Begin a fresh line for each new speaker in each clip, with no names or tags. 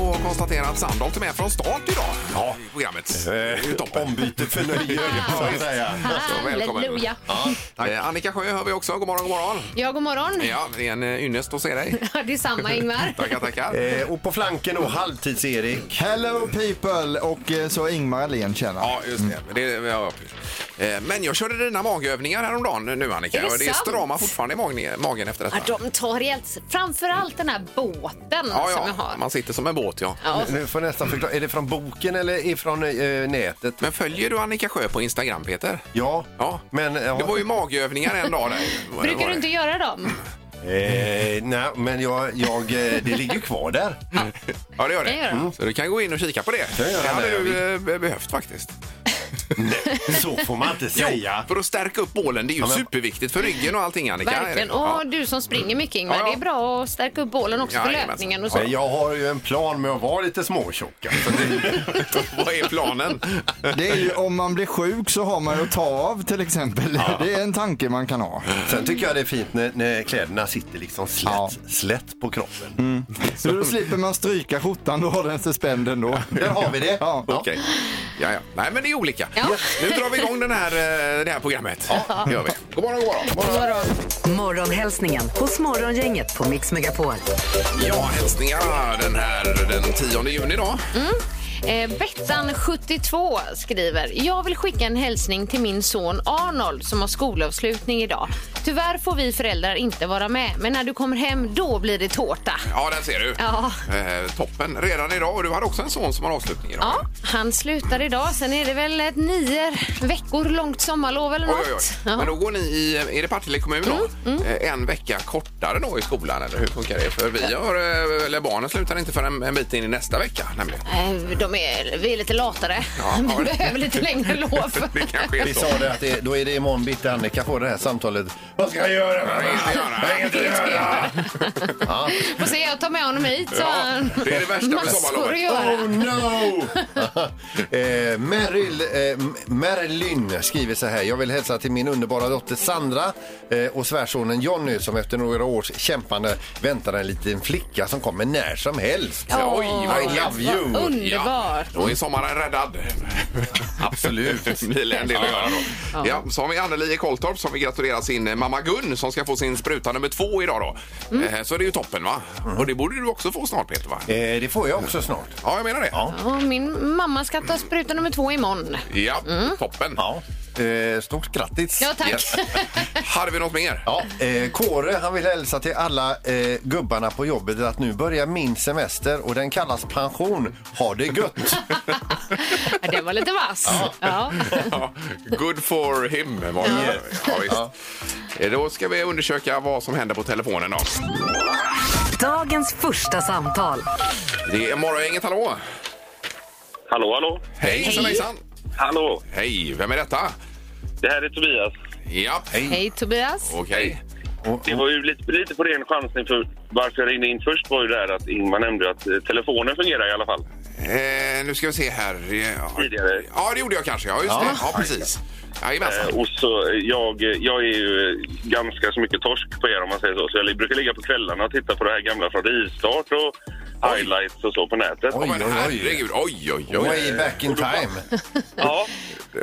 och konstaterar att Sandholt är med från start idag ja. i programmet. Det är ju toppen.
Eh, Ombyte för nöje, så att säga.
Så välkommen.
Halleluja.
Ja. Eh, Annika Sjö hör vi också. God morgon, god morgon.
Ja, god morgon.
Ja, det är en eh, ynnest att se dig.
Det är samma Ingmar.
Tackar, tackar.
Eh, och på flanken då, halvtids-Erik.
Hello people och eh, så Ingmar Ahlén tjena.
Ja, just det. det ja. Eh, Men jag körde dina magövningar häromdagen nu Annika.
Är det
Och det är
sant?
strama fortfarande i magen, magen efter detta.
Ja, de tar rejält, framförallt den här båten
Ja,
som jag
ja,
har.
man sitter som en båt ja.
Ja,
Nu får jag nästan förklara. Är det från boken eller ifrån eh, nätet?
Men följer du Annika Sjö på Instagram Peter?
Ja.
Ja.
Men, eh,
Det var ju magövningar en dag där.
brukar du inte göra dem?
eh, nej, men jag, jag, eh, det ligger ju kvar där.
Ja, det gör det.
Kan jag göra?
Så du kan gå in och kika på det.
jag göra
Det hade
när jag
du eh, be- behövt faktiskt.
Så får man inte säga.
För att stärka upp bålen. Det är ju
men-
superviktigt för ryggen och allting Annika.
Verkligen. Och
Ja.
du som springer mycket Ingmar,
Ja, ja.
det är bra att stärka upp bålen också
Ja,
för
jajamensan.
löpningen och så.
Men jag har ju en plan med att vara lite småtjock. Alltså, det-
Vad är planen?
Det är ju om man blir sjuk så har man ju att ta av till exempel. Det är en tanke man kan ha.
Sen tycker jag det är fint när, när kläderna sitter liksom slätt, slätt på kroppen.
Mm.
Så då slipper man stryka skjortan, då har den sig spänd ändå.
Där har vi det.
Ja.
Okej. Ja, ja. Nej, men det är olika.
Ja.
Nu drar vi igång den här, eh, det här programmet. Ja. Det gör vi. God morgon, god morgon.
Morgonhälsningen hos Morgongänget på Mix Megapol.
Ja, hälsningar den här den 10 juni då.
Eh, Bettan72 skriver. Jag vill skicka en hälsning till min son Arnold som har skolavslutning idag. Tyvärr får vi föräldrar inte vara med, men när du kommer hem då blir det tårta.
Ja, där ser du.
Ja.
Eh, toppen. Redan idag. Och du hade också en son som har avslutning idag.
Ja, han slutar idag. Sen är det väl ett nio veckor långt sommarlov eller
Oj,
något.
oj, oj.
Ja.
Men då går ni i, är det Partille kommun då? Eh, En vecka kortare då i skolan eller hur funkar det? För vi har, eh, eller barnen slutar inte förrän en bit in i nästa vecka nämligen.
Nej, Eh, De är, vi är lite latare.
Ja,
vi
ja.
behöver lite längre lov.
Det kanske är
Vi
så.
sa det att det, då är det imorgon bitti Annika får det här samtalet. Vad ska jag göra? Vad ska jag göra? Vad ska jag göra?
Får se, jag tar med honom hit. Så
Ja, det är det värsta med
Massor att
sommarlovet.
göra.
Oh no! eh, Meryl, eh, M- Merlin skriver så här. Jag vill hälsa till min underbara dotter Sandra eh, och svärsonen Jonny som efter några års kämpande väntar en liten flicka som kommer när som helst.
Oj, vad
I love you!
vad underbart.
Ja, då är sommaren räddad. Absolut. det blir en del att göra då. Ja, så har vi Anneli i Kolltorp som vill gratulera sin eh, mamma Gun som ska få sin spruta nummer två idag då. Eh, Så det är ju toppen va? Och det borde du också få snart Peter va?
Eh, det får jag också snart.
Ja, jag menar det. Ja,
Ja, min mamma ska ta spruta nummer två imorgon.
toppen.
Ja. Eh, stort grattis!
Ja, tack.
Yes. Hade vi något mer?
Ja, eh, Kåre han vill hälsa till alla eh, gubbarna på jobbet att nu börjar min semester och den kallas pension. Ha det gött!
Ja, Den var lite vass. Ja.
Ja, Good for him var det. Ja, visst. Eh, Då ska vi undersöka vad som händer på telefonen. Då.
Dagens första samtal.
Det är Morgongänget, hallå!
Hallå, hallå.
Hej, hejsan, hejsan!
Hallå.
Hej, vem är detta?
Det här är Tobias.
Ja,
Hej, Tobias.
okej.
Det var ju lite, lite på ren chansning för varför jag ringde in först var ju det här att Ingmar nämnde ju att eh, telefonen fungerar i alla fall.
Eh, nu ska vi se här. Ja.
Tidigare.
ja, det gjorde jag kanske. Ja, just det. Ja, precis. Jajamensan.
Eh, Och så, eh, jag, eh, jag är ju eh, ganska så mycket torsk på er om man säger så. Så jag li- brukar ligga på kvällarna och titta på det här gamla från rivstart och highlights och så på nätet.
Ja,
Oj,
men
oj, oj.
herregud. Oj, oj,
Way
oj.
back in time.
Ja.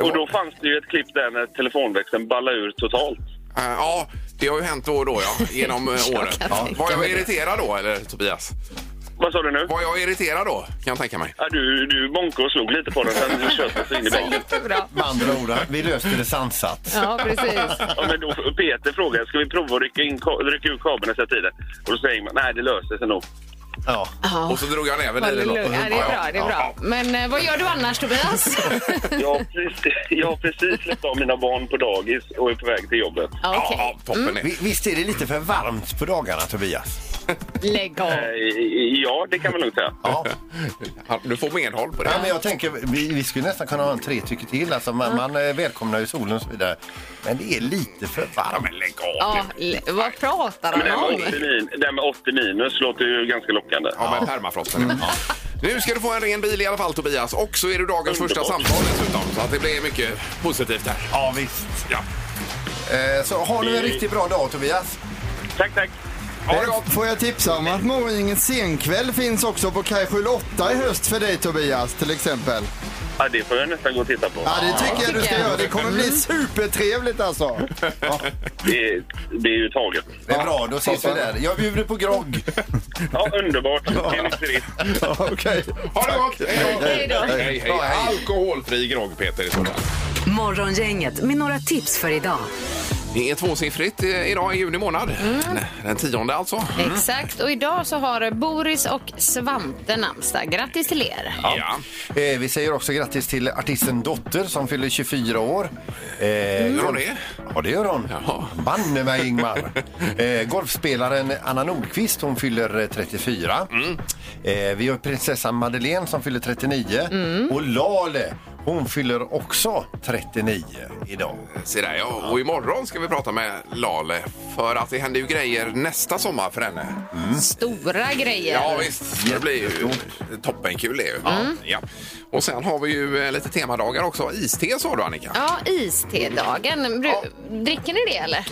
Och då fanns det ju ett klipp där när telefonväxeln ballade ur totalt.
Eh, Ja, det har ju hänt då och då, ja, genom eh,
Jag
åren.
kan
Ja.
tänka
Var jag
mig det.
irriterad då, eller Tobias?
Vad sa du nu?
Var jag irriterad då, kan jag tänka mig.
Ja, du, du bonkade och slog lite på den sen du köpte så in i
Så
bänken.
jättebra.
Med andra ord, vi löste det sansat.
Ja, precis.
Ja, men då, Peter frågade ska vi prova att rycka, in, ka- rycka ur kabeln och sätta i den. Och då säger man nej, det löser sig nog.
Ja.
Och så drog jag näven
Ja,
i
det är
den. då.
bra. Det är bra. Men eh, vad gör du annars, Tobias?
Jag har precis, jag har precis släppt av mina barn på dagis och är på väg till jobbet.
Ja,
Ja,
Okej,
ja, toppen. är.
Vi- Visst är det lite för varmt på dagarna, Tobias?
lägg av.
Eh, Ja, det kan man lugnt säga.
Ja.
Ja, Du får medhåll på det.
ja men jag tänker, vi, vi skulle nästan kunna ha en tre tycker till. Alltså, man, man eh, välkomnar ju solen och så vidare. Men det är lite för
Ja,
varmt.
men lägg av
Ja,
nu.
l- vad pratar
Men den
han
med
om?
80, min, den med 80 minus låter ju ganska lockande.
Ja, men permafrosten. Ja. Nu ska du få en ren bil i alla fall Tobias och så är du dagens första samtal dessutom så att det blir mycket positivt här.
Ja, visst.
Ja.
Eh, Så ha nu en riktigt bra dag Tobias.
Tack, tack.
Ha det gott!
Får jag tipsa om att Morgongänget senkväll finns också på Kajskjul 8 i höst för dig Tobias till exempel.
Ja, det får jag nästan gå och titta på.
Ja, det tycker jag Mm. du ska göra. Det kommer bli supertrevligt alltså.
Det, det är ju taget.
Det är bra, då ses vi
toppen.
där. Jag bjuder på grogg.
Ja, underbart. Det är nykterist.
Ja, Okej.
Ha det gott! Hej då!
Hej då.
Hej, hej.
Ja, hej.
Alkoholfri grogg Peter i så fall.
Morgongänget med några tips för idag.
Det är tvåsiffrigt eh, idag i juni månad. Den tionde alltså.
Exakt. Och idag så har Boris och Svante namnsdag. Grattis till er.
Ja.
Eh, Vi säger också grattis till artisten Dotter som fyller 24 år. Eh,
Gör hon det?
Ja, det gör hon.
Jaha.
Banne mig, Ingmar! eh, golfspelaren Anna Nordqvist, hon fyller eh, 34. Eh, vi har prinsessan Madeleine som fyller 39. Och Lale, hon fyller också 39 idag.
Se där ja. Och imorgon ska vi prata med Lale för att det händer ju grejer nästa sommar för henne.
Stora grejer.
Ja visst, det blir ju toppenkul det ju. Ja. Och sen har vi ju eh, lite temadagar också. Iste sa du Annika?
Ja, iste-dagen. Bru- Dricker ni det eller?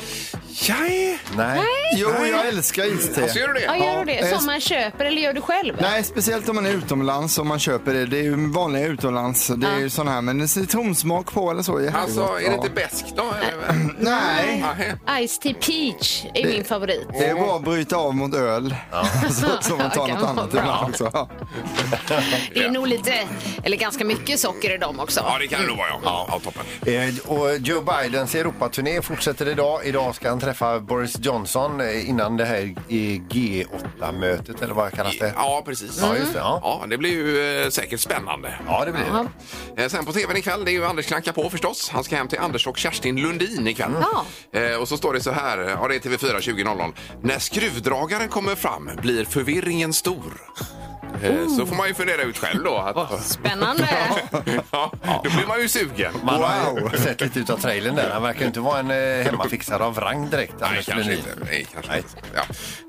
Nej.
Nej.
Jo, jag älskar
Alltså
iste.
gör du det?
Ja, gör du
Ja,
det?
eh,
Som man köper eller gör du själv?
Nej, speciellt om man är utomlands och man köper det. Det är ju vanliga utomlands. Det är ju sån här med en citronsmak på eller så. jättegott.
Alltså är det inte
Ja.
bäst då?
Nej.
Nej.
Ice tea peach är min favorit.
Det är bara att bryta av mot öl. så, så man tar
Ja,
något
kan
annat
vara
ibland också. Ja.
Det är nog lite, eller ganska mycket socker i dem också.
Ja det kan det nog vara ja. ja toppen.
Eh, och Joe Bidens Europaturné fortsätter idag. Idag ska han träffa Boris Johnson eh, innan det här eh, G8-mötet, eller vad kallas det?
Ja, precis.
Ja, just det, ja.
Ja, det blir ju eh, säkert spännande.
Ja, det blir det.
Eh, Sen på tvn ikväll, det är ju Anders klanka på förstås. Han ska hem till Anders och Kerstin Lundin ikväll. Eh, och så står det så här, ja det är TV4 20.00. När skruvdragaren kommer fram blir förvirringen stor. Eh, Så får man ju fundera ut själv då. Att,
Spännande.
ja, då blir man ju sugen.
Man har ju sett lite ut av trailern där. Han verkar ju inte vara en eh, hemmafixare av rang direkt.
Nej,
Anders
kanske
Lundin.
inte. Nej, kanske inte. Ja.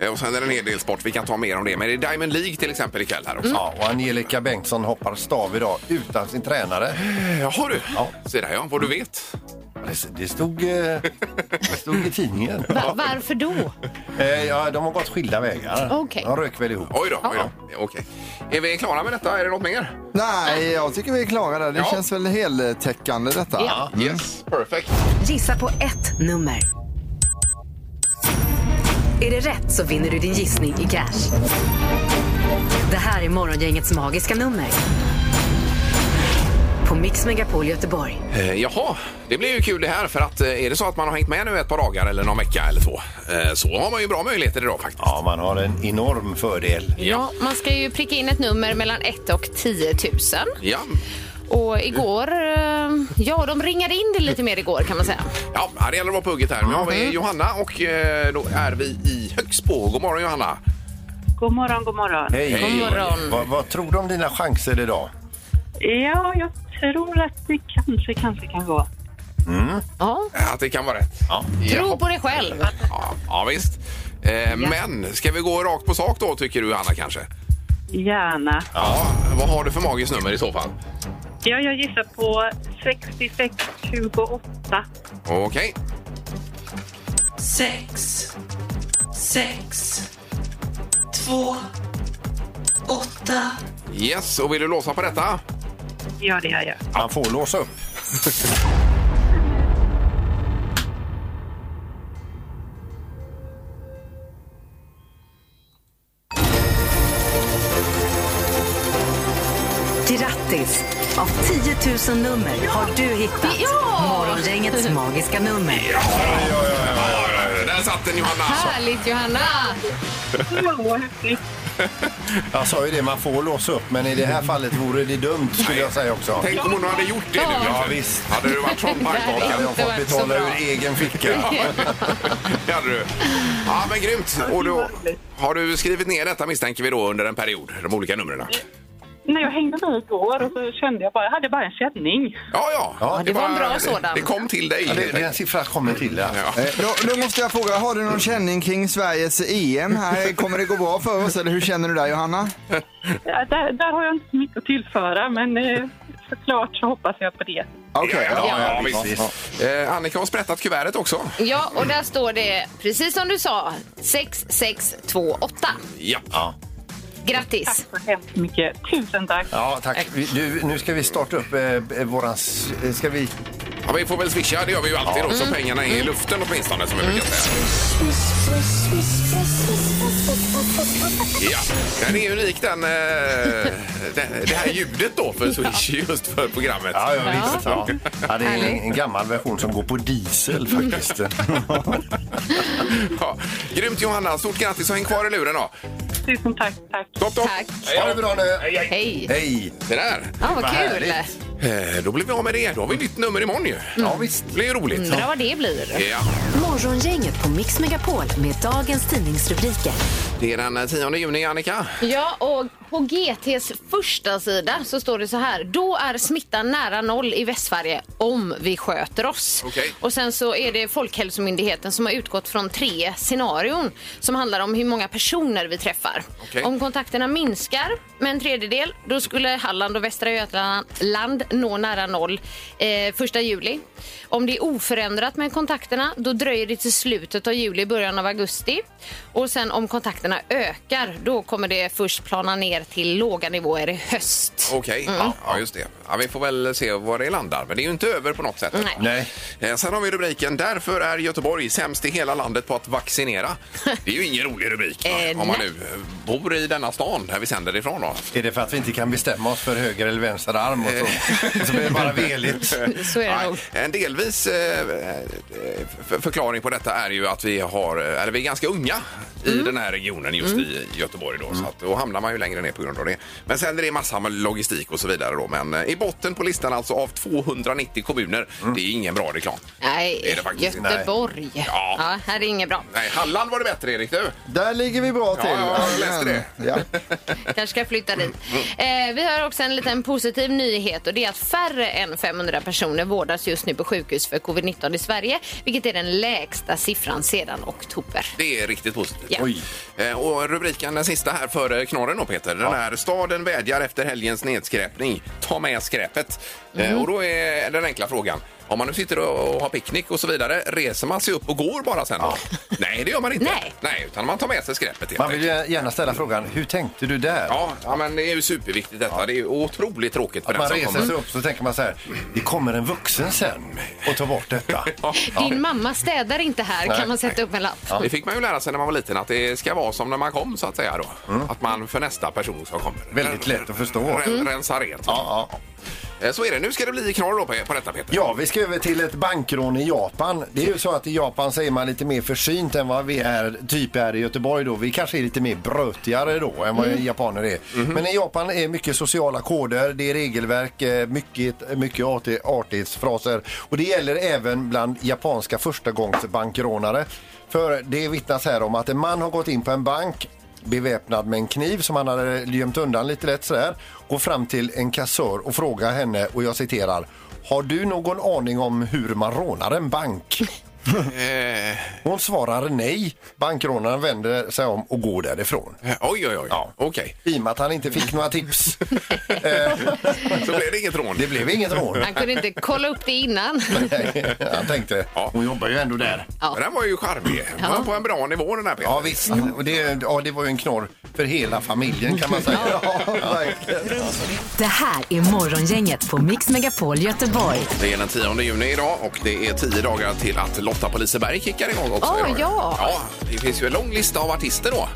Eh, Och sen är det en hel del sport. Vi kan ta mer om det. Men det är Diamond League till exempel ikväll här också.
Ja, och Angelica Bengtsson hoppar stav idag utan sin tränare.
Jaha du.
Ja.
Se där ja, vad du vet.
Det, det, stod, eh, det stod i tidningen.
Va- varför då?
Eh, Ja, de har gått skilda vägar.
Okej.
De rök väl ihop.
Oj då, oj då. Okej. Är vi klara med detta? Är det något mer?
Nej, jag tycker vi är klara där. Det
Ja.
känns väl heltäckande detta.
Ja.
Yes, perfect.
Gissa på ett nummer. Är det rätt så vinner du din gissning i cash. Det här är Morgongängets magiska nummer. På Mix Megapol Göteborg.
Eh, jaha, det blir ju kul det här för att eh, är det så att man har hängt med nu ett par dagar eller någon vecka eller två eh, så har man ju bra möjligheter idag faktiskt.
Ja, man har en enorm fördel.
Ja, man ska ju pricka in ett nummer mellan 1 och 10 000.
Ja,
Och igår, eh, ja de ringade in det lite mer igår kan man säga.
ja det gäller att vara på hugget här. Nu har vi Johanna och eh, då är vi i Högsbo. God morgon Johanna!
God morgon, god morgon.
Hej!
God
morgon.
Vad, vad tror du om dina chanser idag?
Ja, jag tror att det kanske, kanske kan gå.
Ja,
Eh, Att det kan vara rätt. Ja,
tro på dig själv.
ja, ja visst. Eh, men ska vi gå rakt på sak då tycker du Anna kanske?
Gärna.
Ja. Vad har du för magiskt nummer i så fall?
Ja, jag gissar på 6628.
Okej.
sex, sex, två, åtta,
Yes, och vill du låsa på detta?
Ja, det gör jag.
Man får låsa upp.
Grattis! Av 10 000 nummer har du hittat
Ja!
Morgongängets magiska nummer.
Där satt den Johanna!
Härligt Johanna!
Åh, häftigt.
Jag sa ju det, man får låsa upp, men i det här fallet vore det dumt skulle jag säga också.
Tänk om hon hade gjort det nu.
Ja, visst.
Hade du varit från
Då hade
bankhaken?
jag fått
varit så
betala
bra.
ur egen ficka.
Det hade du. Ja, men grymt. Och då har du skrivit ner detta misstänker vi då under en period, de olika numren?
när jag hängde med igår och så kände jag bara, jag hade bara en känning.
Ja, ja.
Ja, det
är
var en bra
det-
sådan.
Det kom till dig.
Ja, det, den siffran kommer till. Ja.
Ja.
Eh, Då, då måste jag fråga, har du någon känning kring Sveriges EM här? Kommer det gå bra för oss eller hur känner du där Johanna?
Ja, Där, där har jag inte så mycket att tillföra, men eh, såklart så hoppas jag på det.
Okej,
Ja, ja,
Ja,
visst.
visst.
Eh, Annika har sprättat kuvertet också.
Ja, och där står det, precis som du sa, 6628.
Ja.
Tack
Grattis!
så hemskt mycket. Tusen tack.
Ja, tack. Vi, nu, nu ska vi starta upp eh, eh, våran... s- eh, Ska vi...
ja, vi får väl swisha. Det gör vi ju alltid då, så pengarna är i luften åtminstone, som vi brukar säga. Ja. Den är ju unik, den, eh, det, det här ljudet då, för swish just för programmet.
Ja, ja, visst. Ja. Ja, det är en, en gammal version som går på diesel
Mm.
faktiskt.
Ja. Grymt Johanna, stort grattis och häng kvar i luren då.
Tusen tack, tack.
Topp, topp.
Tack.
Ha det bra nu!
Hej!
Hej!
Det där.
Ja, vad
Vad
kul!
härligt.
Eh, Då blir vi av med det. Då har vi nytt nummer imorgon
Mm.
ju.
Ja, visst.
Det blir ju roligt.
Undrar vad det blir.
Ja.
Morgongänget på Mix Megapol med dagens tidningsrubriker.
Det är den 10 juni, Annika.
Ja, och på GTs första sida så står det så här. Då är smittan nära noll i Västsverige om vi sköter oss.
Okej.
Och sen så är det Folkhälsomyndigheten som har utgått från tre scenarion som handlar om hur många personer vi träffar.
Okej.
Om kontakterna minskar med en tredjedel, då skulle Halland och Västra Götaland nå nära noll eh, första juli. Om det är oförändrat med kontakterna, då dröjer det till slutet av juli, början av augusti. Och sen om kontakterna ökar, då kommer det först plana ner till låga nivåer i höst.
Okej,
Mm.
ja, ja, just det. Ja, vi får väl se var det landar, men det är ju inte över på något sätt.
Nej.
Nej.
Eh, Sen har vi rubriken Därför är Göteborg sämst i hela landet på att vaccinera. Det är ju ingen rolig rubrik
Eh,
va? om man
nej.
nu eh, bor i denna stan där vi sänder ifrån. Då.
Är det för att vi inte kan bestämma oss för höger eller vänster arm och
Eh.
så?
Eh.
så blir det bara veligt.
Så är det
Nej,
nog.
En delvis eh, eh, för- förklaring på detta är ju att vi, har, eh, eller vi är ganska unga i
Mm.
den här regionen just i Göteborg. Då, så att, då hamnar man ju längre ner på grund av det. Men sen är det massa med logistik och så vidare. Då, men eh, i botten på listan alltså av 290 kommuner,
Mm.
det är ingen bra reklam. Det är
Nej,
det faktiskt inte.
Göteborg.
Ja.
här är inget bra.
Nej, Halland var det bättre Erik du.
där ligger vi bra till.
ja, jag läste det.
Ja.
kanske ska flytta dit. Eh, vi har också en liten positiv nyhet och det är att färre än 500 personer vårdas just nu på sjukhus för covid-19 i Sverige, vilket är den lägsta siffran sedan oktober.
Det är riktigt positivt.
Ja.
Oj.
Eh, Och rubriken, den sista här före knorren då Peter. Den här staden vädjar efter helgens nedskräpning. Ta med skräpet. Eh,
Mm.
Och då är den enkla frågan. Om man nu sitter och och har picknick och så vidare, reser man sig upp och går bara sen då? Nej, det gör man inte.
Nej.
utan man tar med sig skräpet helt
Man vill
enkelt.
ju gärna ställa frågan, hur tänkte du där?
Ja, ja, men det är ju superviktigt detta. Det är ju otroligt tråkigt för
Att man
den
reser
som kommer.
sig upp så tänker man så här, det kommer en vuxen sen och tar bort detta.
Din mamma städar inte här,
Nej,
kan man sätta upp en lapp?
Det fick man ju lära sig när man var liten att det ska vara som när man kom så att säga då. Att man för nästa person som kommer.
Mm. Väldigt lätt att förstå.
Ren- Rensa rent.
Ja, ja.
Eh, Så är det. Nu ska det bli knorr då på, på detta Peter.
ja, vi ska över till ett bankrån i Japan. Det är ju så att i Japan så är man lite mer försynt än vad vi är, typ är i Göteborg då. Vi kanske är lite mer brötigare då än vad japaner är. Men i Japan är mycket sociala koder, det är regelverk, eh, mycket, mycket arti- artighetsfraser. Och det gäller även bland japanska förstagångsbankrånare. För det vittnas här om att en man har gått in på en bank beväpnad med en kniv som han hade gömt undan lite lätt sådär. Går fram till en kassör och frågar henne och jag citerar. Har du någon aning om hur man rånar en bank?
Eh,
Hon svarar nej. Bankrånaren vänder sig om och går därifrån.
Oj, oj, oj.
Ja.
Okej.
I och med att han inte fick några tips. Eh,
Så blev det inget rån.
det blev inget rån.
Han kunde inte kolla upp det innan.
Nej, Han tänkte,
Ja.
hon jobbar ju ändå där.
Ja.
Den här var ju charmig. Den var på en bra nivå den här Peter.
Ja visst, och det, ja, det var ju en knorr för hela familjen kan man säga.
Det här är Morgongänget på Mix Megapol Göteborg.
Det är den 10 juni idag och det är 10 dagar till att Lotta på Liseberg kickar igång också.
Åh,
idag.
ja.
ja! Det finns ju en lång lista av artister då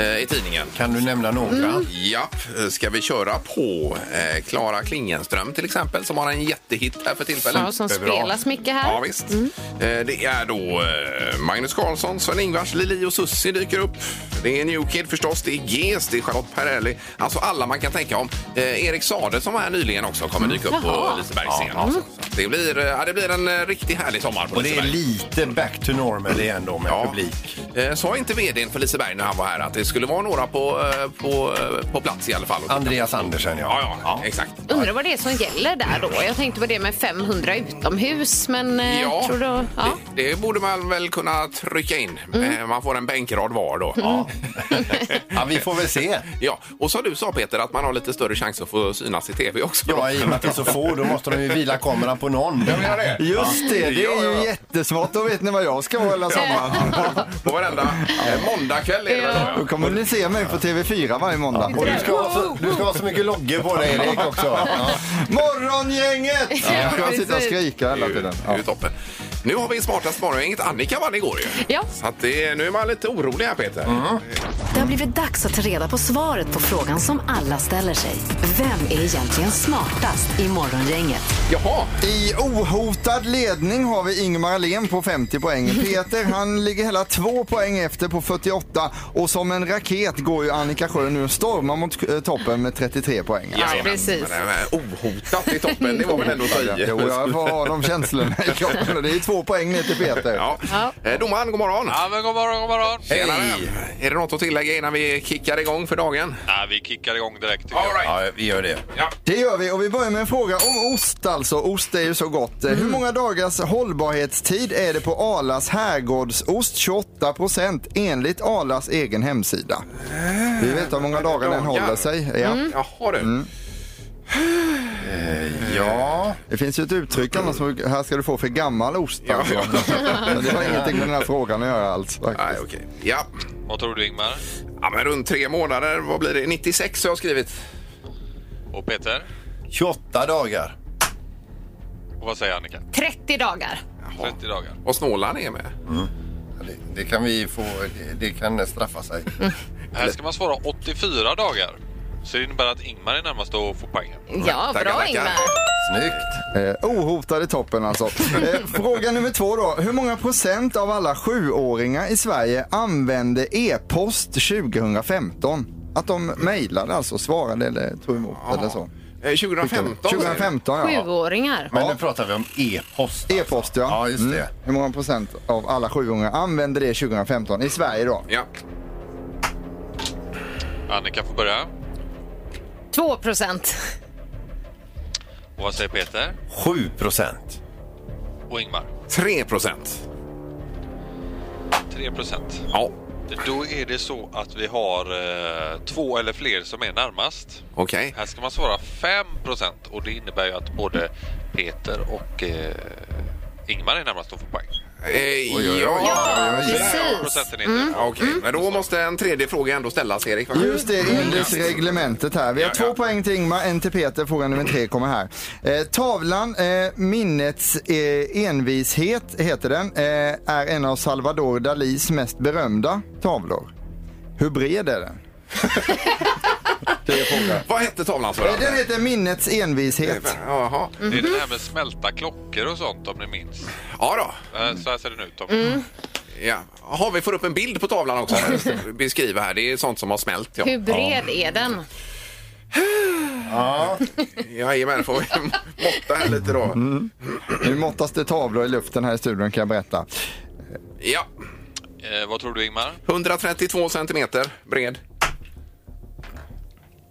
eh, i tidningen.
Kan du nämna några?
Japp, eh, ska vi köra på eh, Klara Klingenström till exempel som har en jättehit här för tillfället.
Ja, som
Superbra.
spelas mycket här.
Ja, visst.
Mm.
Eh, Det är då eh, Magnus Carlsson, Sven-Ingvars, Lili och Sussi dyker upp. Det är New Kid förstås, det är GES, det är Charlotte Perrelli. Alltså alla man kan tänka om. Eh, Erik Sade som var här nyligen också kommer
Mm.
dyka upp på
Jaha.
Lisebergsscenen. Så Det, blir, eh, ja, det blir en eh, riktigt härlig sommar på
Och det är
Liseberg.
lite back to normal igen då med
Ja.
publik.
Eh, Sa inte vdn för Liseberg när han var här att det skulle vara några på, eh, på, eh, på plats i alla fall?
Andreas Andersen,
Ja,
ja. Mm.
ja, exakt.
Undrar vad det är som gäller där då. Jag tänkte på det med 500 utomhus, men eh,
Ja,
tror du... Ja.
Det, det borde man väl kunna trycka in. Eh, Man får en bänkrad var då. Ja.
Mm. ja. Vi får väl se.
Och som du sa Peter, att man har lite större chans att få synas i tv också. då.
Ja, i och med att det är så få, då måste de ju vila kameran på någon.
Jag menar det.
Just det, det
Ja,
är
ja,
ju
ja.
jättesmart. Då vet ni vad jag ska vara hela sommaren.
På varenda eh, måndagkväll är det väl då,
Då kommer ni se mig på TV4 varje måndag.
Och du ska, ha så, du ska ha så mycket loggor på dig, Erik, också. Ja.
Morgongänget! Jag ska sitta och
precis.
skrika
Det
hela
är ju-
tiden.
det är
Ja.
ju toppen. Nu har vi smartast morgongänget. Annika vann igår ju.
Ja.
Så att det, nu är man lite orolig här Peter.
Mm.
Det har blivit dags att ta reda på svaret på frågan som alla ställer sig. Vem är egentligen smartast i Morgongänget?
Jaha,
I ohotad ledning har vi Ingemar Ahlén på 50 poäng. Peter han ligger hela två poäng efter på 48 och som en raket går ju Annika Sjö nu och stormar mot eh, toppen med 33 poäng.
Ja, precis.
Men, eh, Ohotat i toppen, det var väl ändå att säga.
Jo, jag får ha de känslorna i kroppen och det är två poäng ner till Peter.
Ja. Eh, Domaren, god morgon.
Ja, men god morgon, god morgon.
Hej. Är det något att tillägga innan vi kickar igång för dagen?
Ja, vi kickar igång direkt. tycker jag.
All right.
Ja, vi gör det.
Det gör vi och vi börjar med en fråga om ost alltså. Ost är ju så gott. Eh, Hur många dagars hållbarhetstid är det på Arlas herrgårdsost? 28 procent enligt Arlas egen hemsida. Vi vet hur många dagar den håller sig. Ja.
Jaha du.
Mm.
Eh,
Ja,
Det finns ju ett uttryck annars som här ska du få för gammal ost. Alltså.
Ja,
Men Det har ingenting med den här frågan att göra alls.
Nej,
Faktiskt.
okej. Ja.
Vad tror du Ingmar?
ja, men runt tre månader. Vad blir det? 96 har jag skrivit.
Och Peter?
28 dagar.
Och vad säger Annika?
30 dagar.
30 dagar.
Och snålan är med.
Det, det kan vi få, det, det kan straffa sig.
Här ska man svara 84 dagar. Så det innebär att Ingmar är närmast att få poängen.
Ja,
tackar,
bra
tackar.
Ingmar.
Snyggt!
Eh, ohotad i toppen alltså. Eh, fråga nummer två då. Hur många procent av alla sjuåringar i Sverige använde e-post 2015? Att de mejlade alltså, svarade eller tog emot eller så.
Eh, 2015. säger du.
2015 ja.
Sjuåringar.
Men nu pratar vi om e-post.
E-post ja.
Ja, just det.
Mm. Hur många procent av alla sjuåringar använde det 2015 i Sverige då?
Ja.
Annika får börja.
2 procent.
Och vad säger Peter?
7 procent.
Och Ingmar?
3 procent.
3 procent.
Ja,
Då är det så att vi har eh, två eller fler som är närmast.
okej.
Här ska man svara 5 procent och det innebär ju att både Peter och eh, Ingmar är närmast att få poäng.
Eh, ja,
Ja,
Ja,
precis.
Procenten är inte det.
Okej,
Mm.
men då måste en tredje fråga ändå ställas, Erik. va?
Just det, enligt reglementet här. Vi har
Mm. Ja,
två
ja.
poäng till Ingmar, en till Peter. Fråga nummer tre kommer här. Eh, tavlan, eh, Minnets eh, envishet heter den, eh, är en av Salvador Dalis mest berömda tavlor. Hur bred är den?
Vad hette tavlan?
Eh, Den heter Minnets envishet.
Jaha.
Det är det här med smälta klockor och sånt om ni minns.
Ja då.
Eh, Så här ser den ut. Om...
Ja. Jaha, vi får upp en bild på tavlan också. Beskriva här. Det är sånt som har smält. Ja.
Hur bred är den?
Jajamän, får vi måtta här lite då.
Nu måttas det tavlor i luften här i studion kan jag berätta.
Ja,
Eh, vad tror du Ingmar?
132 centimeter bred.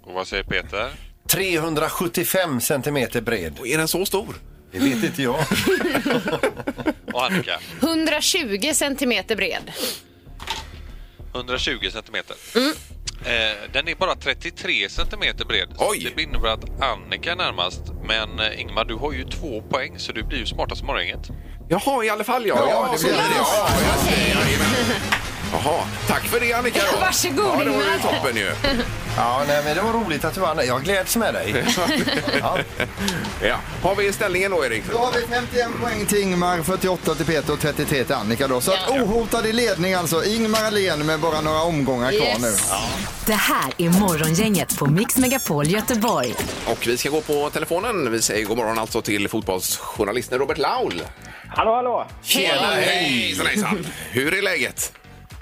Och vad säger Peter?
375 centimeter bred.
Och är den så stor?
Det vet inte jag.
Och Annika?
120 centimeter bred.
120 centimeter. Eh, den är bara 33 centimeter bred. Så
Oj!
Det innebär att Annika är närmast. Men eh, Ingmar, du har ju två poäng så du blir ju smartast i morgongänget.
Jaha, i alla fall ja.
Ja, det
så
blir
blir
det.
Ja, just det. Jajamän. Jaha, tack för det Annika. Då.
Varsågod,
Ja, det var ju
Ingmar.
toppen ju.
Ja, nej, men det var roligt att du vann. Jag gläds med dig. Ja.
Ja. Har vi ställningen då Erik?
Då har vi 51 poäng till Ingmar, 48 till Peter och 33 till Annika då. Så att ohotad i ledning alltså. Ingmar Ahlén med bara några omgångar kvar
Yes.
nu.
Det här är Morgongänget på Mix Megapol Göteborg.
Och vi ska gå på telefonen. Vi säger god morgon alltså till fotbollsjournalisten Robert Laul.
Hallå, hallå!
Tjena, hejsan hejsan. Hur är läget?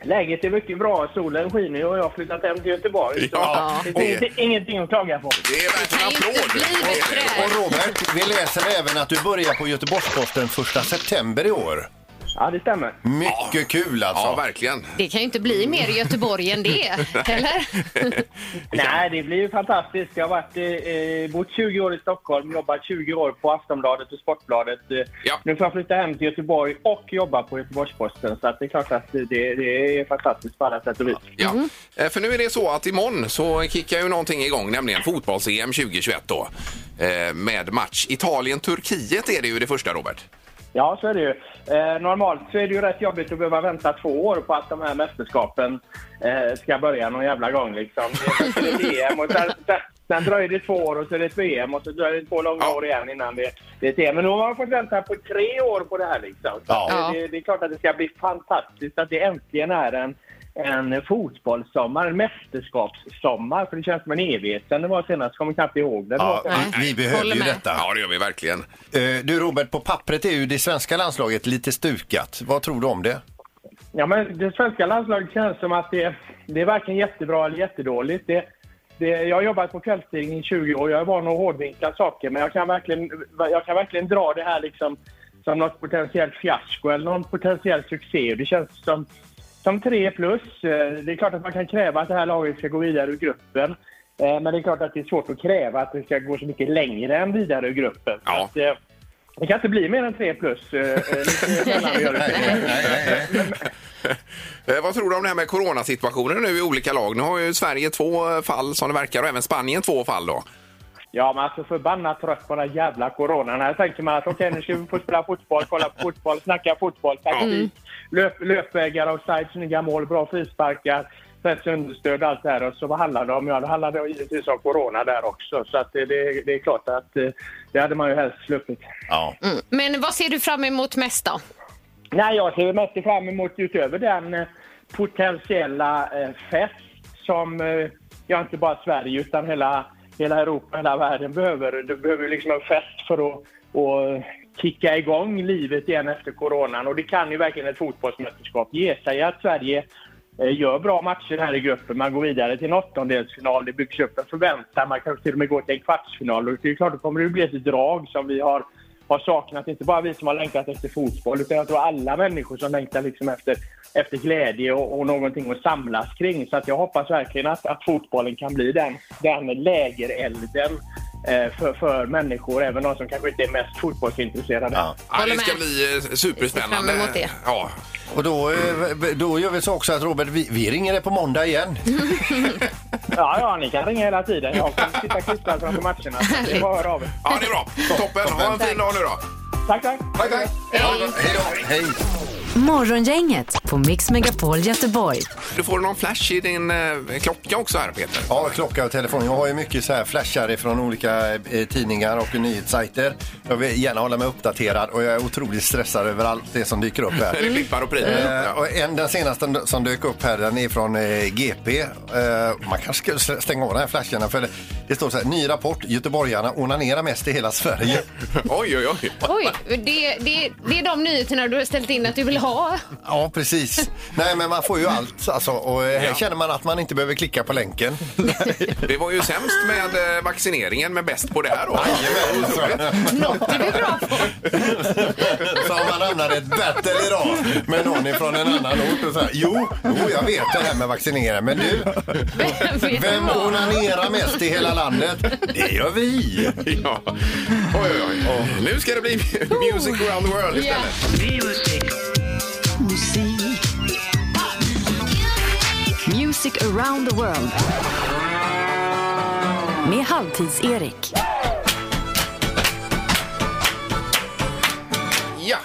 Läget är mycket bra. Solen skiner och jag har flyttat hem till Göteborg.
Ja,
Det
det,
finns ingenting att klaga på.
det är verkligen
Kan ju
applåd.
inte bli bättre.
Och Robert, vi läser även att du börjar på Göteborgs-Posten 1 september i år.
Ja, det stämmer.
Mycket kul alltså.
Ja, verkligen.
Det kan ju inte bli mer Göteborg än det, eller?
Nej, det blir ju fantastiskt. Jag har varit, eh, eh, bott 20 år i Stockholm, jobbat 20 år på Aftonbladet och Sportbladet. Eh,
Ja.
Nu får jag flytta hem till Göteborg och jobba på Göteborgs-Posten. Så att det är klart att det, det är fantastiskt på alla sätt och vis.
Ja.
Mm.
Eh, För nu är det så att imorgon så kickar ju någonting igång, nämligen fotbolls-EM 2021 då. Eh, Med match Italien-Turkiet är det ju det första, Robert.
Ja, så är det ju. Eh, normalt så är det ju rätt jobbigt att behöva vänta två år på att de här mästerskapen eh, ska börja någon jävla gång. Liksom. Det är först ett EM och sen, sen, sen dröjer det två år och så är det ett VM och så dröjer det två långa
Ja.
år igen innan det, det är ett EM. Men nu har man fått vänta på tre år på det här. Liksom. Så
Ja.
att det, det, det är klart att det ska bli fantastiskt att det äntligen är en eh, en fotbollssommar, en mästerskapssommar, för det känns som en evighet sen det var senast, kommer knappt ihåg när det. var
Ja,
senast.
vi, vi behöver
Håller
ju
med.
detta.
Ja, det gör vi verkligen.
Eh, Du Robert, på pappret är ju det svenska landslaget lite stukat. Vad tror du om det?
Ja, men det svenska landslaget känns som att det, det är varken jättebra eller jättedåligt. Det, det, jag har jobbat på kvällstidning i 20 år. Jag är van att hårdvinkla saker, men jag kan verkligen, jag kan verkligen dra det här liksom som något potentiellt fiasko eller någon potentiell succé. Det känns som, som tre plus. Eh, Det är klart att man kan kräva att det här laget ska gå vidare ur gruppen. Eh, Men det är klart att det är svårt att kräva att det ska gå så mycket längre än vidare ur gruppen.
Ja.
Så att, eh, det kan inte bli mer än tre plus. eh, eh, lite sällan vi gör det.
Eh, Vad tror du om det här med coronasituationen nu i olika lag? Nu har ju Sverige två eh, fall som det verkar och även Spanien två fall då.
Ja, men alltså förbannat trött på den här jävla coronan. Här tänker man att okej, nu ska vi få spela fotboll, kolla på fotboll, snacka fotboll, taktik, löp, löpvägar, offside, snygga mål, bra frisparkar, press, understöd, allt det här. Och så vad handlar det om? Ja, det handlar det givetvis om corona där också. Så att det, det, det är klart att eh, det hade man ju helst sluppit.
Ja.
Mm. Men vad ser du fram emot mest då?
Nej, jag ser mest fram emot utöver den eh, potentiella eh, fest som eh, ja, inte bara Sverige utan hela, hela Europa, hela världen behöver. Du behöver liksom en fest för att att kicka igång livet igen efter coronan och det kan ju verkligen ett fotbollsmästerskap ge. Säg att Sverige eh, gör bra matcher här i gruppen, man går vidare till en åttondelsfinal, det byggs upp en förväntan, man kanske till och med går till en kvartsfinal och det är klart, då kommer det bli ett drag som vi har har saknat, inte bara vi som har längtat efter fotboll, utan jag tror alla människor som längtar liksom efter, efter glädje och, och någonting att samlas kring. Så att jag hoppas verkligen att, att fotbollen kan bli den, den lägerelden eh, för, för människor, även de som kanske inte är mest fotbollsintresserade.
Ja.
Ja,
Håller
det ska
med.
bli eh,
Jag ser fram emot
superspännande.
det.
Ja,
Och då, eh, då gör vi så också att Robert, vi, vi ringer dig på måndag igen.
Ja, ja, ni kan ringa hela tiden. Jag kommer sitta klistrad framför matcherna. Så Det är bara att höra av er.
ja det är bra. Toppen. Ha en fin dag nu då.
Tack, tack!
Tack, tack.
Hej då! Hej!
Morgongänget på Mix Megapol Göteborg.
Du får någon flash i din eh, klocka också här, Peter.
Mm.
Ja, klocka och telefon. Jag har ju mycket så här flashar från olika eh, tidningar och nyhetssajter. Jag vill gärna hålla mig uppdaterad och jag är otroligt stressad över allt det som dyker upp här.
Det är blippar och prilar.
Eh,
Ja.
och en, den senaste som dök upp här, den är från eh, GP. Eh, man kanske skulle sl- stänga av den här flashen för det står så här, ny rapport, göteborgarna onanerar mest i hela Sverige.
Oj, oj, oj.
Oj, det, det, det är de nyheterna du har ställt in att du vill ha.
ja, precis. Nej, men man får ju allt alltså, och eh, här känner man att man inte behöver klicka på länken.
Det var ju sämst med eh, vaccineringen, men bäst på det här då.
Jajamän, så.
Något är vi bra på.
Så om man hamnar i ett battle idag med någon från en annan ort och så här, jo, jo, jag vet det här med vaccinera, men du,
Vem vet
vem
vad?
onanerar mest i hela landet? Det gör vi!
Ja. Oj, oj, oj. Nu ska det bli Music around the world
Ja.
istället.
Music around the world. Med Halvtids-Erik.
Ja.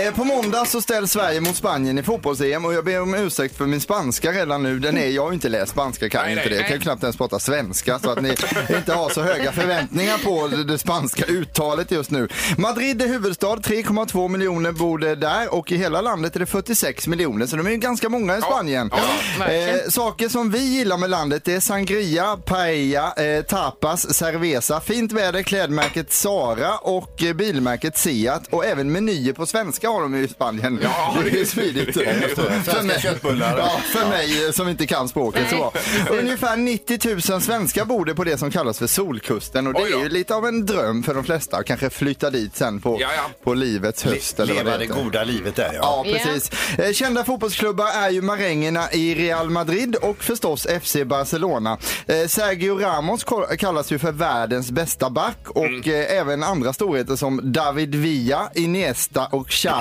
Eh, På måndag så ställs Sverige mot Spanien i fotbolls-EM och jag ber om ursäkt för min spanska redan nu. Den är, jag har ju inte läst spanska, kan
Nej,
inte
nej,
det. Jag kan ju knappt ens prata svenska så att ni inte har så höga förväntningar på det, det spanska uttalet just nu. Madrid är huvudstad, 3,2 miljoner bor det där och i hela landet är det 46 miljoner så de är ju ganska många i Spanien.
verkligen.
Eh, saker som vi gillar med landet det är sangria, paella, eh, tapas, cerveza, fint väder, klädmärket Sara och eh, bilmärket Seat och även menyer på svenska fläska har de ju i Spanien.
Ja,
det är ju smidigt.
det är ju så.
Svenska köttbullar.
Ja, för mig eh, som inte kan språket. Så. Ungefär 90 000 svenskar bor det på det som kallas för Solkusten och det
Oj då.
är ju lite av en dröm för de flesta att kanske flytta dit sen på,
Ja, ja.
på livets höst. eller vad
Leva det
heter.
goda livet där ja.
Ja, precis. Eh, Kända fotbollsklubbar är ju marängerna i Real Madrid och förstås FC Barcelona. Eh, Sergio Ramos ko- kallas ju för världens bästa back och
Mm.
eh, även andra storheter som David Villa, Iniesta och Xavi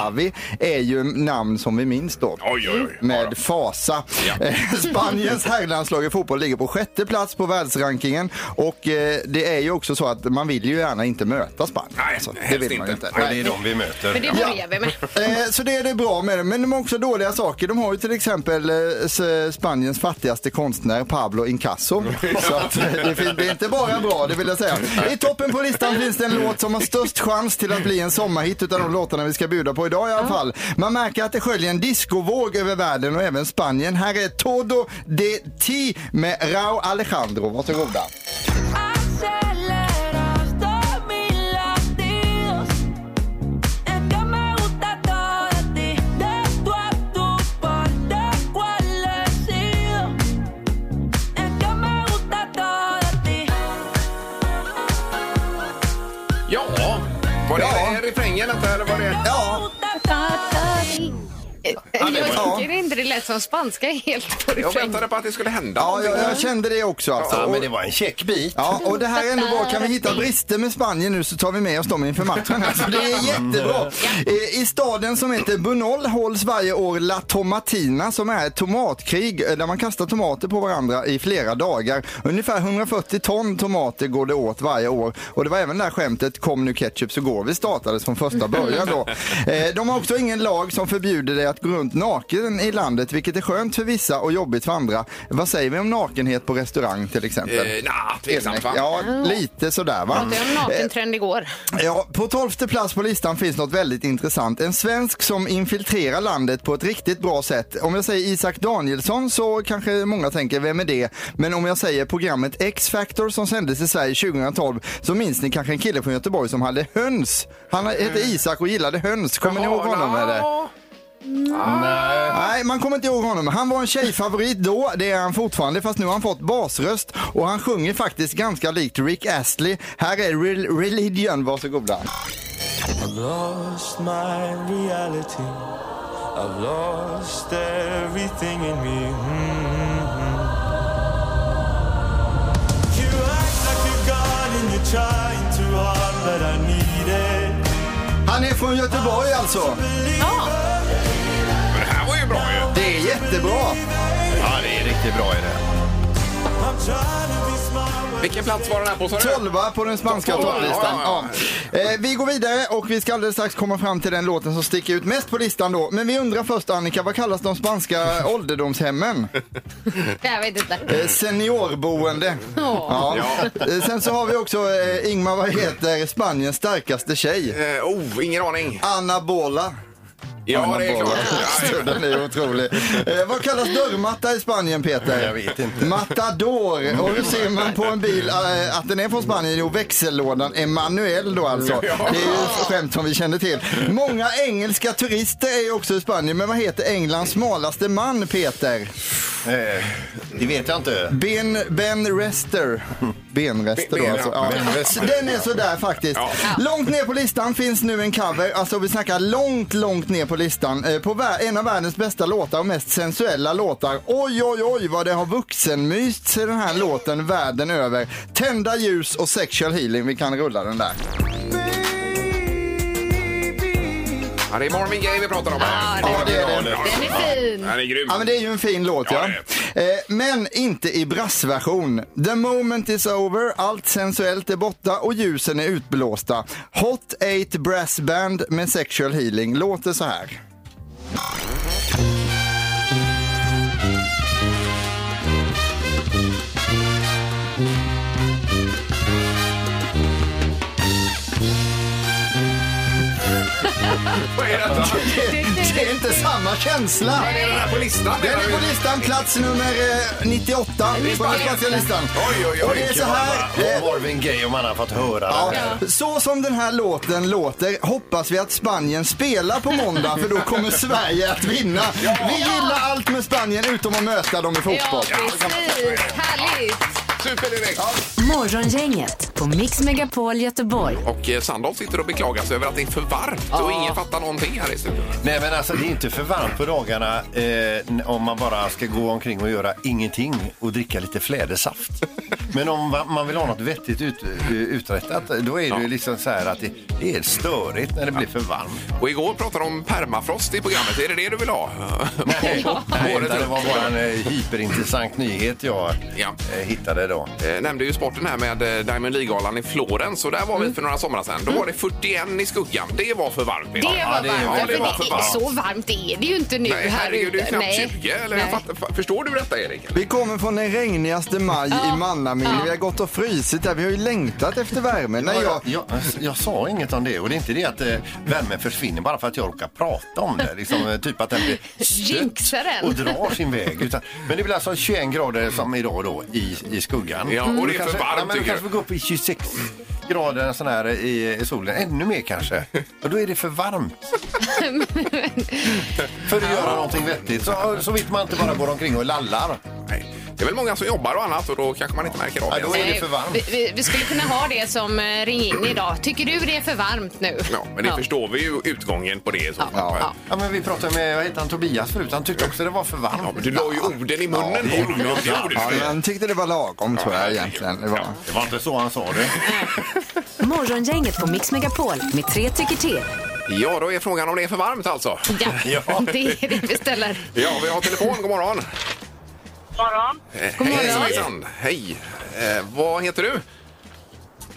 är ju namn som vi minns då.
Oj, oj, oj. Ja, då.
Med fasa.
Ja.
Eh, Spaniens herrlandslag i fotboll ligger på sjätte plats på världsrankingen och eh, det är ju också så att man vill ju gärna inte möta Spanien.
Nej,
alltså, det
helst
vill man ju
inte.
inte.
Men det är de vi möter.
Men det börjar vi med.
Eh, så det är det bra med det. Men de har också dåliga saker. De har ju till exempel eh, s- Spaniens fattigaste konstnär Pablo Incasso. Så att, eh, det fin- det är inte bara bra, det vill jag säga. I toppen på listan finns det en låt som har störst chans till att bli en sommarhit utav de låtarna vi ska bjuda på idag i alla fall. Man märker att det sköljer en discovåg över världen och även Spanien. Här är Todo de Ti med Rao Alejandro. Varsågoda.
Ja, var det refrängen detta, eller var det...
Ja,
Jag
Ja.
tycker inte det lät som spanska helt på
Jag
refräng.
väntade på att det skulle hända.
ja jag, jag kände det också alltså.
Ja,
Och-
men det var en käck bit.
Ja, och det här är ändå bra. Kan vi hitta brister med Spanien nu så tar vi med oss dem inför matchen. Alltså, det är jättebra. Eh, I staden som heter Bunol hålls varje år La Tomatina som är ett tomatkrig eh, där man kastar tomater på varandra i flera dagar. Ungefär 140 ton tomater går det åt varje år. Och det var även det här skämtet Kom nu ketchup så går vi startades från första början då. Eh, De har också ingen lag som förbjuder dig att gå runt naken i landet vilket är skönt för vissa och jobbigt för andra. Vad säger vi om nakenhet på restaurang till exempel?
Eh, nah, tveksamt va?
Ja, lite sådär va. Eh,
Pratade jag om nakentrend igår?
Ja, på tolfte plats på listan finns något väldigt intressant. En svensk som infiltrerar landet på ett riktigt bra sätt. Om jag säger Isak Danielsson så kanske många tänker, vem är det? Men om jag säger programmet X-Factor som sändes i Sverige 2012 så minns ni kanske en kille från Göteborg som hade höns. Han hette
Mm.
Isak och gillade höns. Kommer ni ihåg honom
Ja,
eller? Nej, man kommer inte ihåg honom. Han var en tjejfavorit då, det är han fortfarande, fast nu har han fått basröst och han sjunger faktiskt ganska likt Rick Astley. Här är Rel- Religion, varsågoda. Han är från Göteborg alltså.
Men det här var ju bra ju.
Det är jättebra.
Ja, det är riktigt bra är det.
Vilken plats var den här på sa du?
Tolva på den spanska
Tolva,
topplistan.
ja,
Ja. Eh, vi går vidare och vi ska alldeles strax komma fram till den låten som sticker ut mest på listan då. Men vi undrar först Annika, vad kallas de spanska ålderdomshemmen?
Jag vet inte.
Eh, Seniorboende.
Ja.
Eh, Sen så har vi också eh, Ingmar, vad heter Spaniens starkaste tjej?
Eh, oh, ingen aning.
Anna Bola.
Ja, det är klart.
Alltså, Den är otrolig. Eh, vad kallas dörrmatta i Spanien Peter?
Jag vet inte.
Mm.
Matador. Och hur ser man på en bil eh, att den är från Spanien? Jo, växellådan är manuell då alltså. Det är ju ett skämt som vi känner till. Många engelska turister är ju också i Spanien. Men vad heter Englands smalaste man Peter?
Eh, Det vet jag inte.
Ben, ben Rester. Benrester
Ben-
då alltså.
Ben-
Ja.
Ben Rester.
Den är sådär faktiskt.
Ja.
Långt ner på listan finns nu en cover. Alltså vi snackar långt, långt ner på listan. Eh, På vär- en av världens bästa låtar och mest sensuella låtar. Oj, oj, oj vad det har vuxenmyst sig den här låten världen över. Tända ljus och sexual healing. Vi kan rulla den där.
Ja, det är Marvin Gaye vi pratar om
Ja,
här.
det-
Ja, det är det.
Den är fin.
Den är grym.
Ja, men det är ju en fin låt ja.
Ja,
Eh, men inte i brassversion. The moment is over, allt sensuellt är borta och ljusen är utblåsta. Hot 8 Brass Band med Sexual Healing låter så här.
Vad är detta?
Det är inte samma känsla.
Är den här på listan?
Den
menar
är
du?
på listan, plats nummer eh, 98 på den svenska listan.
Oj, oj, oj.
Och det är så här.
Vad
eh,
var det en grej om man har fått höra
Ja,
det här?
så som den här låten låter hoppas vi att Spanien spelar på måndag för då kommer Sverige att vinna. Vi gillar allt med Spanien utom att möta dem i
Ja,
fotboll.
precis. Härligt.
Superdirekt.
Morgongänget på Mix Megapol Göteborg.
Och eh, Sandholt sitter och beklagar sig över att det är för varmt och ingen fattar någonting här i studion.
Nej men alltså det är inte för varmt på dagarna eh, n- om man bara ska gå omkring och göra ingenting och dricka lite flädersaft. Men om va- man vill ha något vettigt ut, eh, uträttat då är det ju liksom så här att det, det är störigt när det blir för varmt.
Och igår pratade de om permafrost i programmet. Är det det du vill ha?
Nej, nej
Året
utan det
runt.
var bara en eh, hyperintressant nyhet jag
Ja.
eh, hittade då.
Eh, nämnde ju sporten här med eh, Diamond League-galan i Florens och där var vi för några somrar sedan. Då var det 41 i skuggan. Det var för varmt.
Det var
Peter.
Ja, det-
varmt.
ja, det
för
var för
är-
varmt.
Så varmt är det ju inte nu här
Nej, herregud, det är ju
ute.
knappt 20. Eller, jag fattar, fa- förstår du detta, Erik?
Vi kommer från den regnigaste maj i Mannamin. Vi har gått och frysit där. Vi har ju längtat efter värmen. När jag,
Jag, jag, jag sa inget om det och det är inte det att eh, värmen försvinner bara för att jag råkar prata om det. Liksom, eh, typ att den blir stött
Jinxar den.
och drar sin väg. Utan, men det blir alltså 21 grader som idag då i, i skuggan.
Ja, och det
Då
är
kanske,
för varmt,
ja, men då
tycker
kanske
du?
vi går upp i 26 grader sån här, i, i solen. Ännu mer kanske. Och då är det för varmt. för att göra någonting vettigt. Så, så vitt man inte bara går omkring och lallar.
Nej. Det är väl många som jobbar och annat och då kanske man inte märker av
Ja,
det.
då är det för varmt.
Vi, vi, vi skulle kunna ha det som eh, ring in idag. Tycker du det är för varmt nu?
Ja, men det förstår vi ju utgången på det. i Så. fall.
Ja.
Ja, men vi pratade med vad heter han, Tobias förut. Han tyckte också det var för varmt.
Ja, men du la ju orden i munnen
det
på
gjorde
honom.
jag.
Det gjorde
ja,
du.
jag tyckte det var lagom tror jag egentligen. Det var.
Det var inte så han sa det.
Morgongänget på Mix Megapol med tre tycker till.
Ja, då är frågan om det är för varmt alltså.
Ja, det är det vi ställer.
Ja, vi har telefon. God morgon.
morgon.
God morgon. Hej, hejsan. Hej. Eh, vad heter du?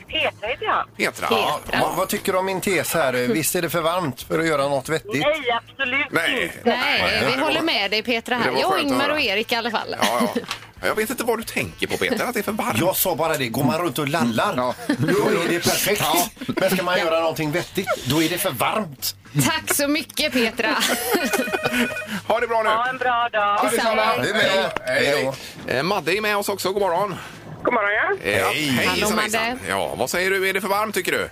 Petra heter jag.
Petra.
Ja, vad, vad tycker du om min tes här? Visst är det för varmt för att göra något vettigt?
Nej, absolut
Nej.
inte.
Nej, vi håller med dig Petra
Det
här.
var
Jag, och
skönt att
Ingmar
höra.
och Erik i alla fall.
Ja, ja. Jag vet inte vad du tänker på Peter, att det är för varmt.
Jag sa bara det, går man runt och lallar,
Ja.
då är det perfekt. Men ska man göra någonting vettigt, då är det för varmt.
Tack så mycket Petra.
Ha det bra nu.
Ha en bra dag.
Du är med. Hej då.
Eh, Madde är med oss också. God morgon.
God morgon, ja.
Eh, ja, hej,
Hallå,
hejsan,
Madde.
hejsan. Ja, vad säger du? Är det för varmt tycker du?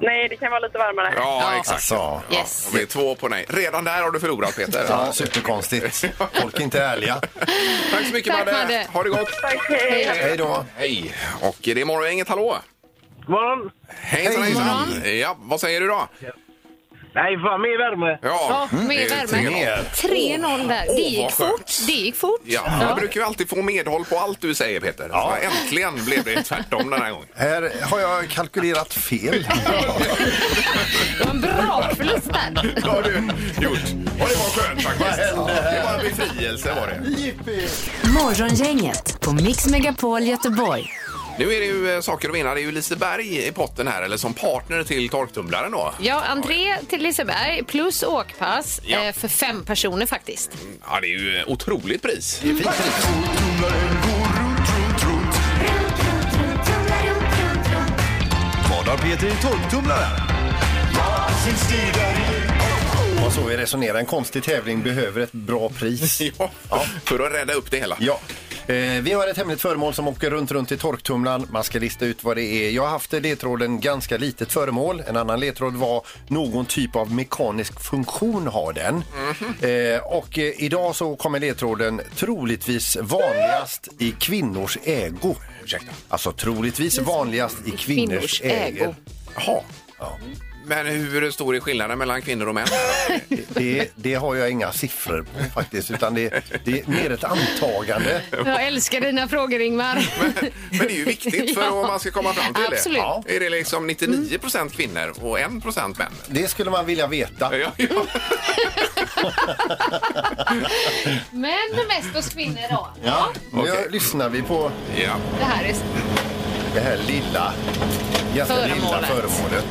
Nej, det kan vara lite varmare.
Ja, exakt.
Alltså,
Yes.
Det är två på nej. Redan där har du förlorat Peter.
ja, superkonstigt. Folk är inte ärliga.
Tack så mycket
Tack,
Madde.
Madde.
Ha det gott.
Tack, hej.
Hej då.
Hej. Och det är morgongänget, hallå.
Morgon!
Hejsan, hejsan. Ja, vad säger du då?
Nej, fan mer värme!
Ja,
Ja, mer
det är
värme.
tre då.
3-0 där. Det gick
vad
fort.
skönt.
Det gick fort.
Ja, jag brukar ju alltid få medhåll på allt du säger Peter. Ja. Äntligen blev det tvärtom den här gången.
Här har jag kalkylerat fel.
Det var en bra förlust där.
Det har du gjort. Och det var skönt faktiskt. Det var en befrielse var det.
Morgongänget på Mix Megapol Göteborg.
Nu är det ju eh, saker att vinna. Det är ju Liseberg i potten här, eller som partner till torktumlaren då.
Ja, entré till Liseberg plus åkpass
Ja.
eh, för fem personer faktiskt.
Ja, det är ju eh, otroligt pris.
Vad har Peter i torktumlaren?
Och så vi resonerar, en konstig tävling behöver ett bra pris.
Ja, för att rädda upp det hela.
Ja. Eh, vi har ett hemligt föremål som åker runt, runt i torktumlaren. Man ska lista ut vad det är. Jag har haft i ledtråden ganska litet föremål. En annan ledtråd var någon typ av mekanisk funktion har den. eh, och eh, idag så kommer ledtråden troligtvis vanligast i kvinnors ägo.
Ursäkta.
Alltså troligtvis vanligast i kvinnors,
kvinnors
ägo.
ägo.
Jaha.
Ja.
Men hur stor är skillnaden mellan kvinnor och män?
Det, det har jag inga siffror på faktiskt, utan det, det är mer ett antagande.
Jag älskar dina frågor, Ingmar.
Men det är ju viktigt för
Ja.
om man ska komma fram till
Absolut.
det. Är det liksom 99 procent kvinnor och 1 procent män?
Det skulle man vilja veta.
Ja, ja.
Men mest hos kvinnor då.
Ja, nu
Okej.
lyssnar vi på
ja.
Det här är...
det här lilla, ganska lilla
Föremålet.
föremålet.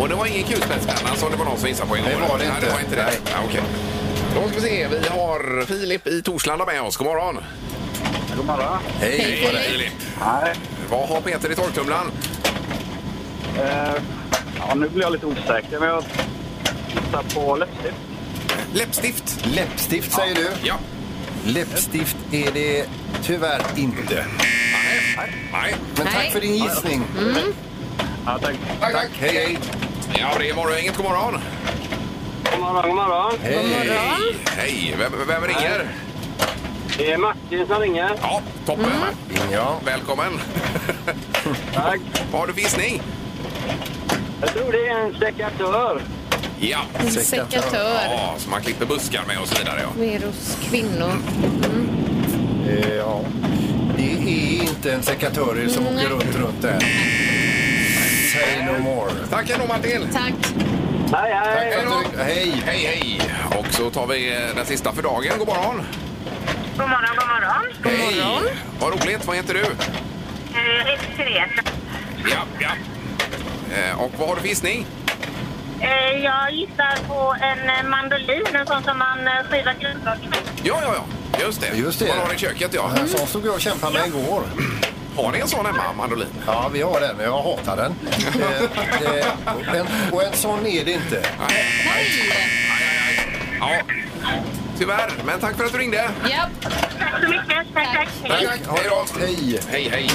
Och det var ingen kulspetspenna som det var någon som gissade på en
Det
gång.
var det
Nej,
inte.
det var inte det.
Nej.
Ja, okej. Då ska vi se. Vi har Filip i Torslanda med oss. God morgon.
God morgon!
Hej på dig!
Filip. Vad har Peter i torktumlaren?
Eh, ja, nu blir jag lite osäker, men jag gissar på läppstift.
Läppstift?
Läppstift säger du?
Ja.
Läppstift är det tyvärr inte.
Nej.
Men tack för din gissning.
Ja, tack.
Tack, tack. Hej, hej.
Ja, det är morgon. Inget god morgon.
God morgon, god morgon.
Hej. Hej. Vem, vem ringer?
Det är Martin som ringer.
Ja, toppen.
Mm-hmm.
Mm. Ja.
Välkommen.
Tack.
Vad har du för gissning?
Jag tror det är en sekatör.
Ja.
En sekatör.
Ja, som man klipper buskar med och så vidare. Ja.
Mer hos kvinnor.
Eh, ja. Det är inte en sekatör som
Mm-hmm.
åker runt, runt där. Say no more.
Tack ändå, Martin.
Tack.
Hej,
Tack för
hej!
att du... Hej.
Hej, hej. Och så tar vi eh, den sista för dagen. God morgon.
God morgon, god morgon.
Hej. Vad roligt. Vad heter du?
Eh, heter Therese.
Ja, ja. Eh, Och vad har du för gissning?
Eh, jag gissar på en eh, mandolin, en sån som man eh, skivar grönkakor med.
Ja, ja, ja. Just det.
Just det. Mm.
Man har i köket, ja.
En sån stod jag och kämpade med igår.
Har ni en sån hemma, mandolin?
Ja, vi har den. Jag hatar den. Eh, eh, och, en, och en sån är det inte.
Nej. Nej, nej, nej. Ja. Tyvärr, men tack för att du ringde.
Japp.
Tack så mycket. Tack, tack.
Tack.
Ha det bra. Hej.
Hej, hej.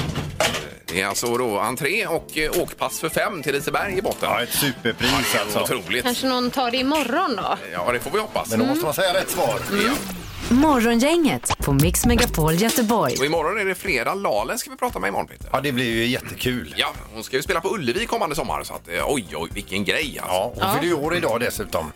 Det är alltså då entré och eh, åkpass för fem till Liseberg i botten.
Ja, ett superpris alltså.
Otroligt.
Kanske någon tar det imorgon då?
Ja, det får vi hoppas.
Men då måste man säga rätt svar.
Ja.
Morgongänget på Mix Megapol Göteborg.
Och imorgon är det fredag. Lalen ska vi prata med imorgon, Peter.
Ja, det blir ju jättekul.
Ja, hon ska ju spela på Ullevi kommande sommar. Så att, eh, oj, oj, vilken grej alltså.
Ja, och fyller ju år idag dessutom.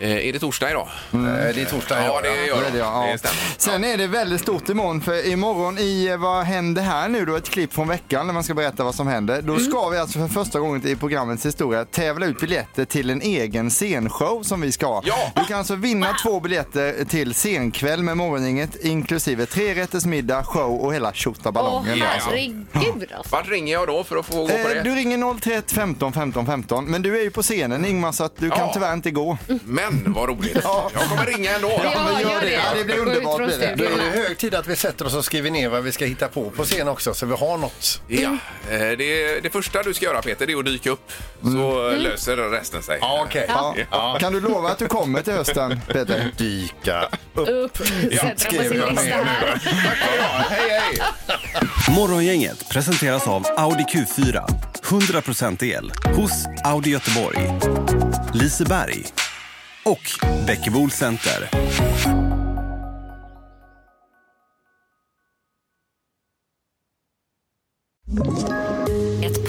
Eh, är det torsdag idag?
Eh, Det är torsdag
Ja,
idag.
det
ja.
gör
Det är det, ja.
det. Det stämmer.
Sen är det väldigt stort imorgon för imorgon i eh, Vad händer här nu då? Ett klipp från veckan när man ska berätta vad som händer. Då ska vi alltså för första gången i programmets historia tävla ut biljetter till en egen scenshow som vi ska ha.
Ja!
Du kan alltså vinna två biljetter till scenkväll med Morgongänget inklusive trerättersmiddag, show och hela
Åh,
tjottabalongen. alltså.
herregud alltså.
Vart ringer jag då för att få gå på
Eh,
det?
Du ringer 031 15 15 15 men du är ju på scenen Ingmar så att du
Ja. Mm.
kan tyvärr inte gå.
Men vad roligt.
Ja.
Jag kommer ringa ändå.
Ja,
men
gör det.
Ja, det blir
Gå ut
underbart.
från
blir det.
Då
studion.
är det hög tid att vi sätter oss och skriver ner vad vi ska hitta på på scen också, så vi har något.
Ja, eh, det, det första du ska göra Peter det är att dyka upp så
Mm.
eh, löser resten sig.
Ja, okej.
Ja. Kan du lova att du kommer till hösten, Peter?
Dyka
Upp. Sätter dem på sin
skriver jag
lista
ner
här.
nu. Tack för idag. Hej, hej!
Morgongänget presenteras av Audi Q4. 100% el hos Audi Göteborg, Liseberg och Bäckebol Center.
Ett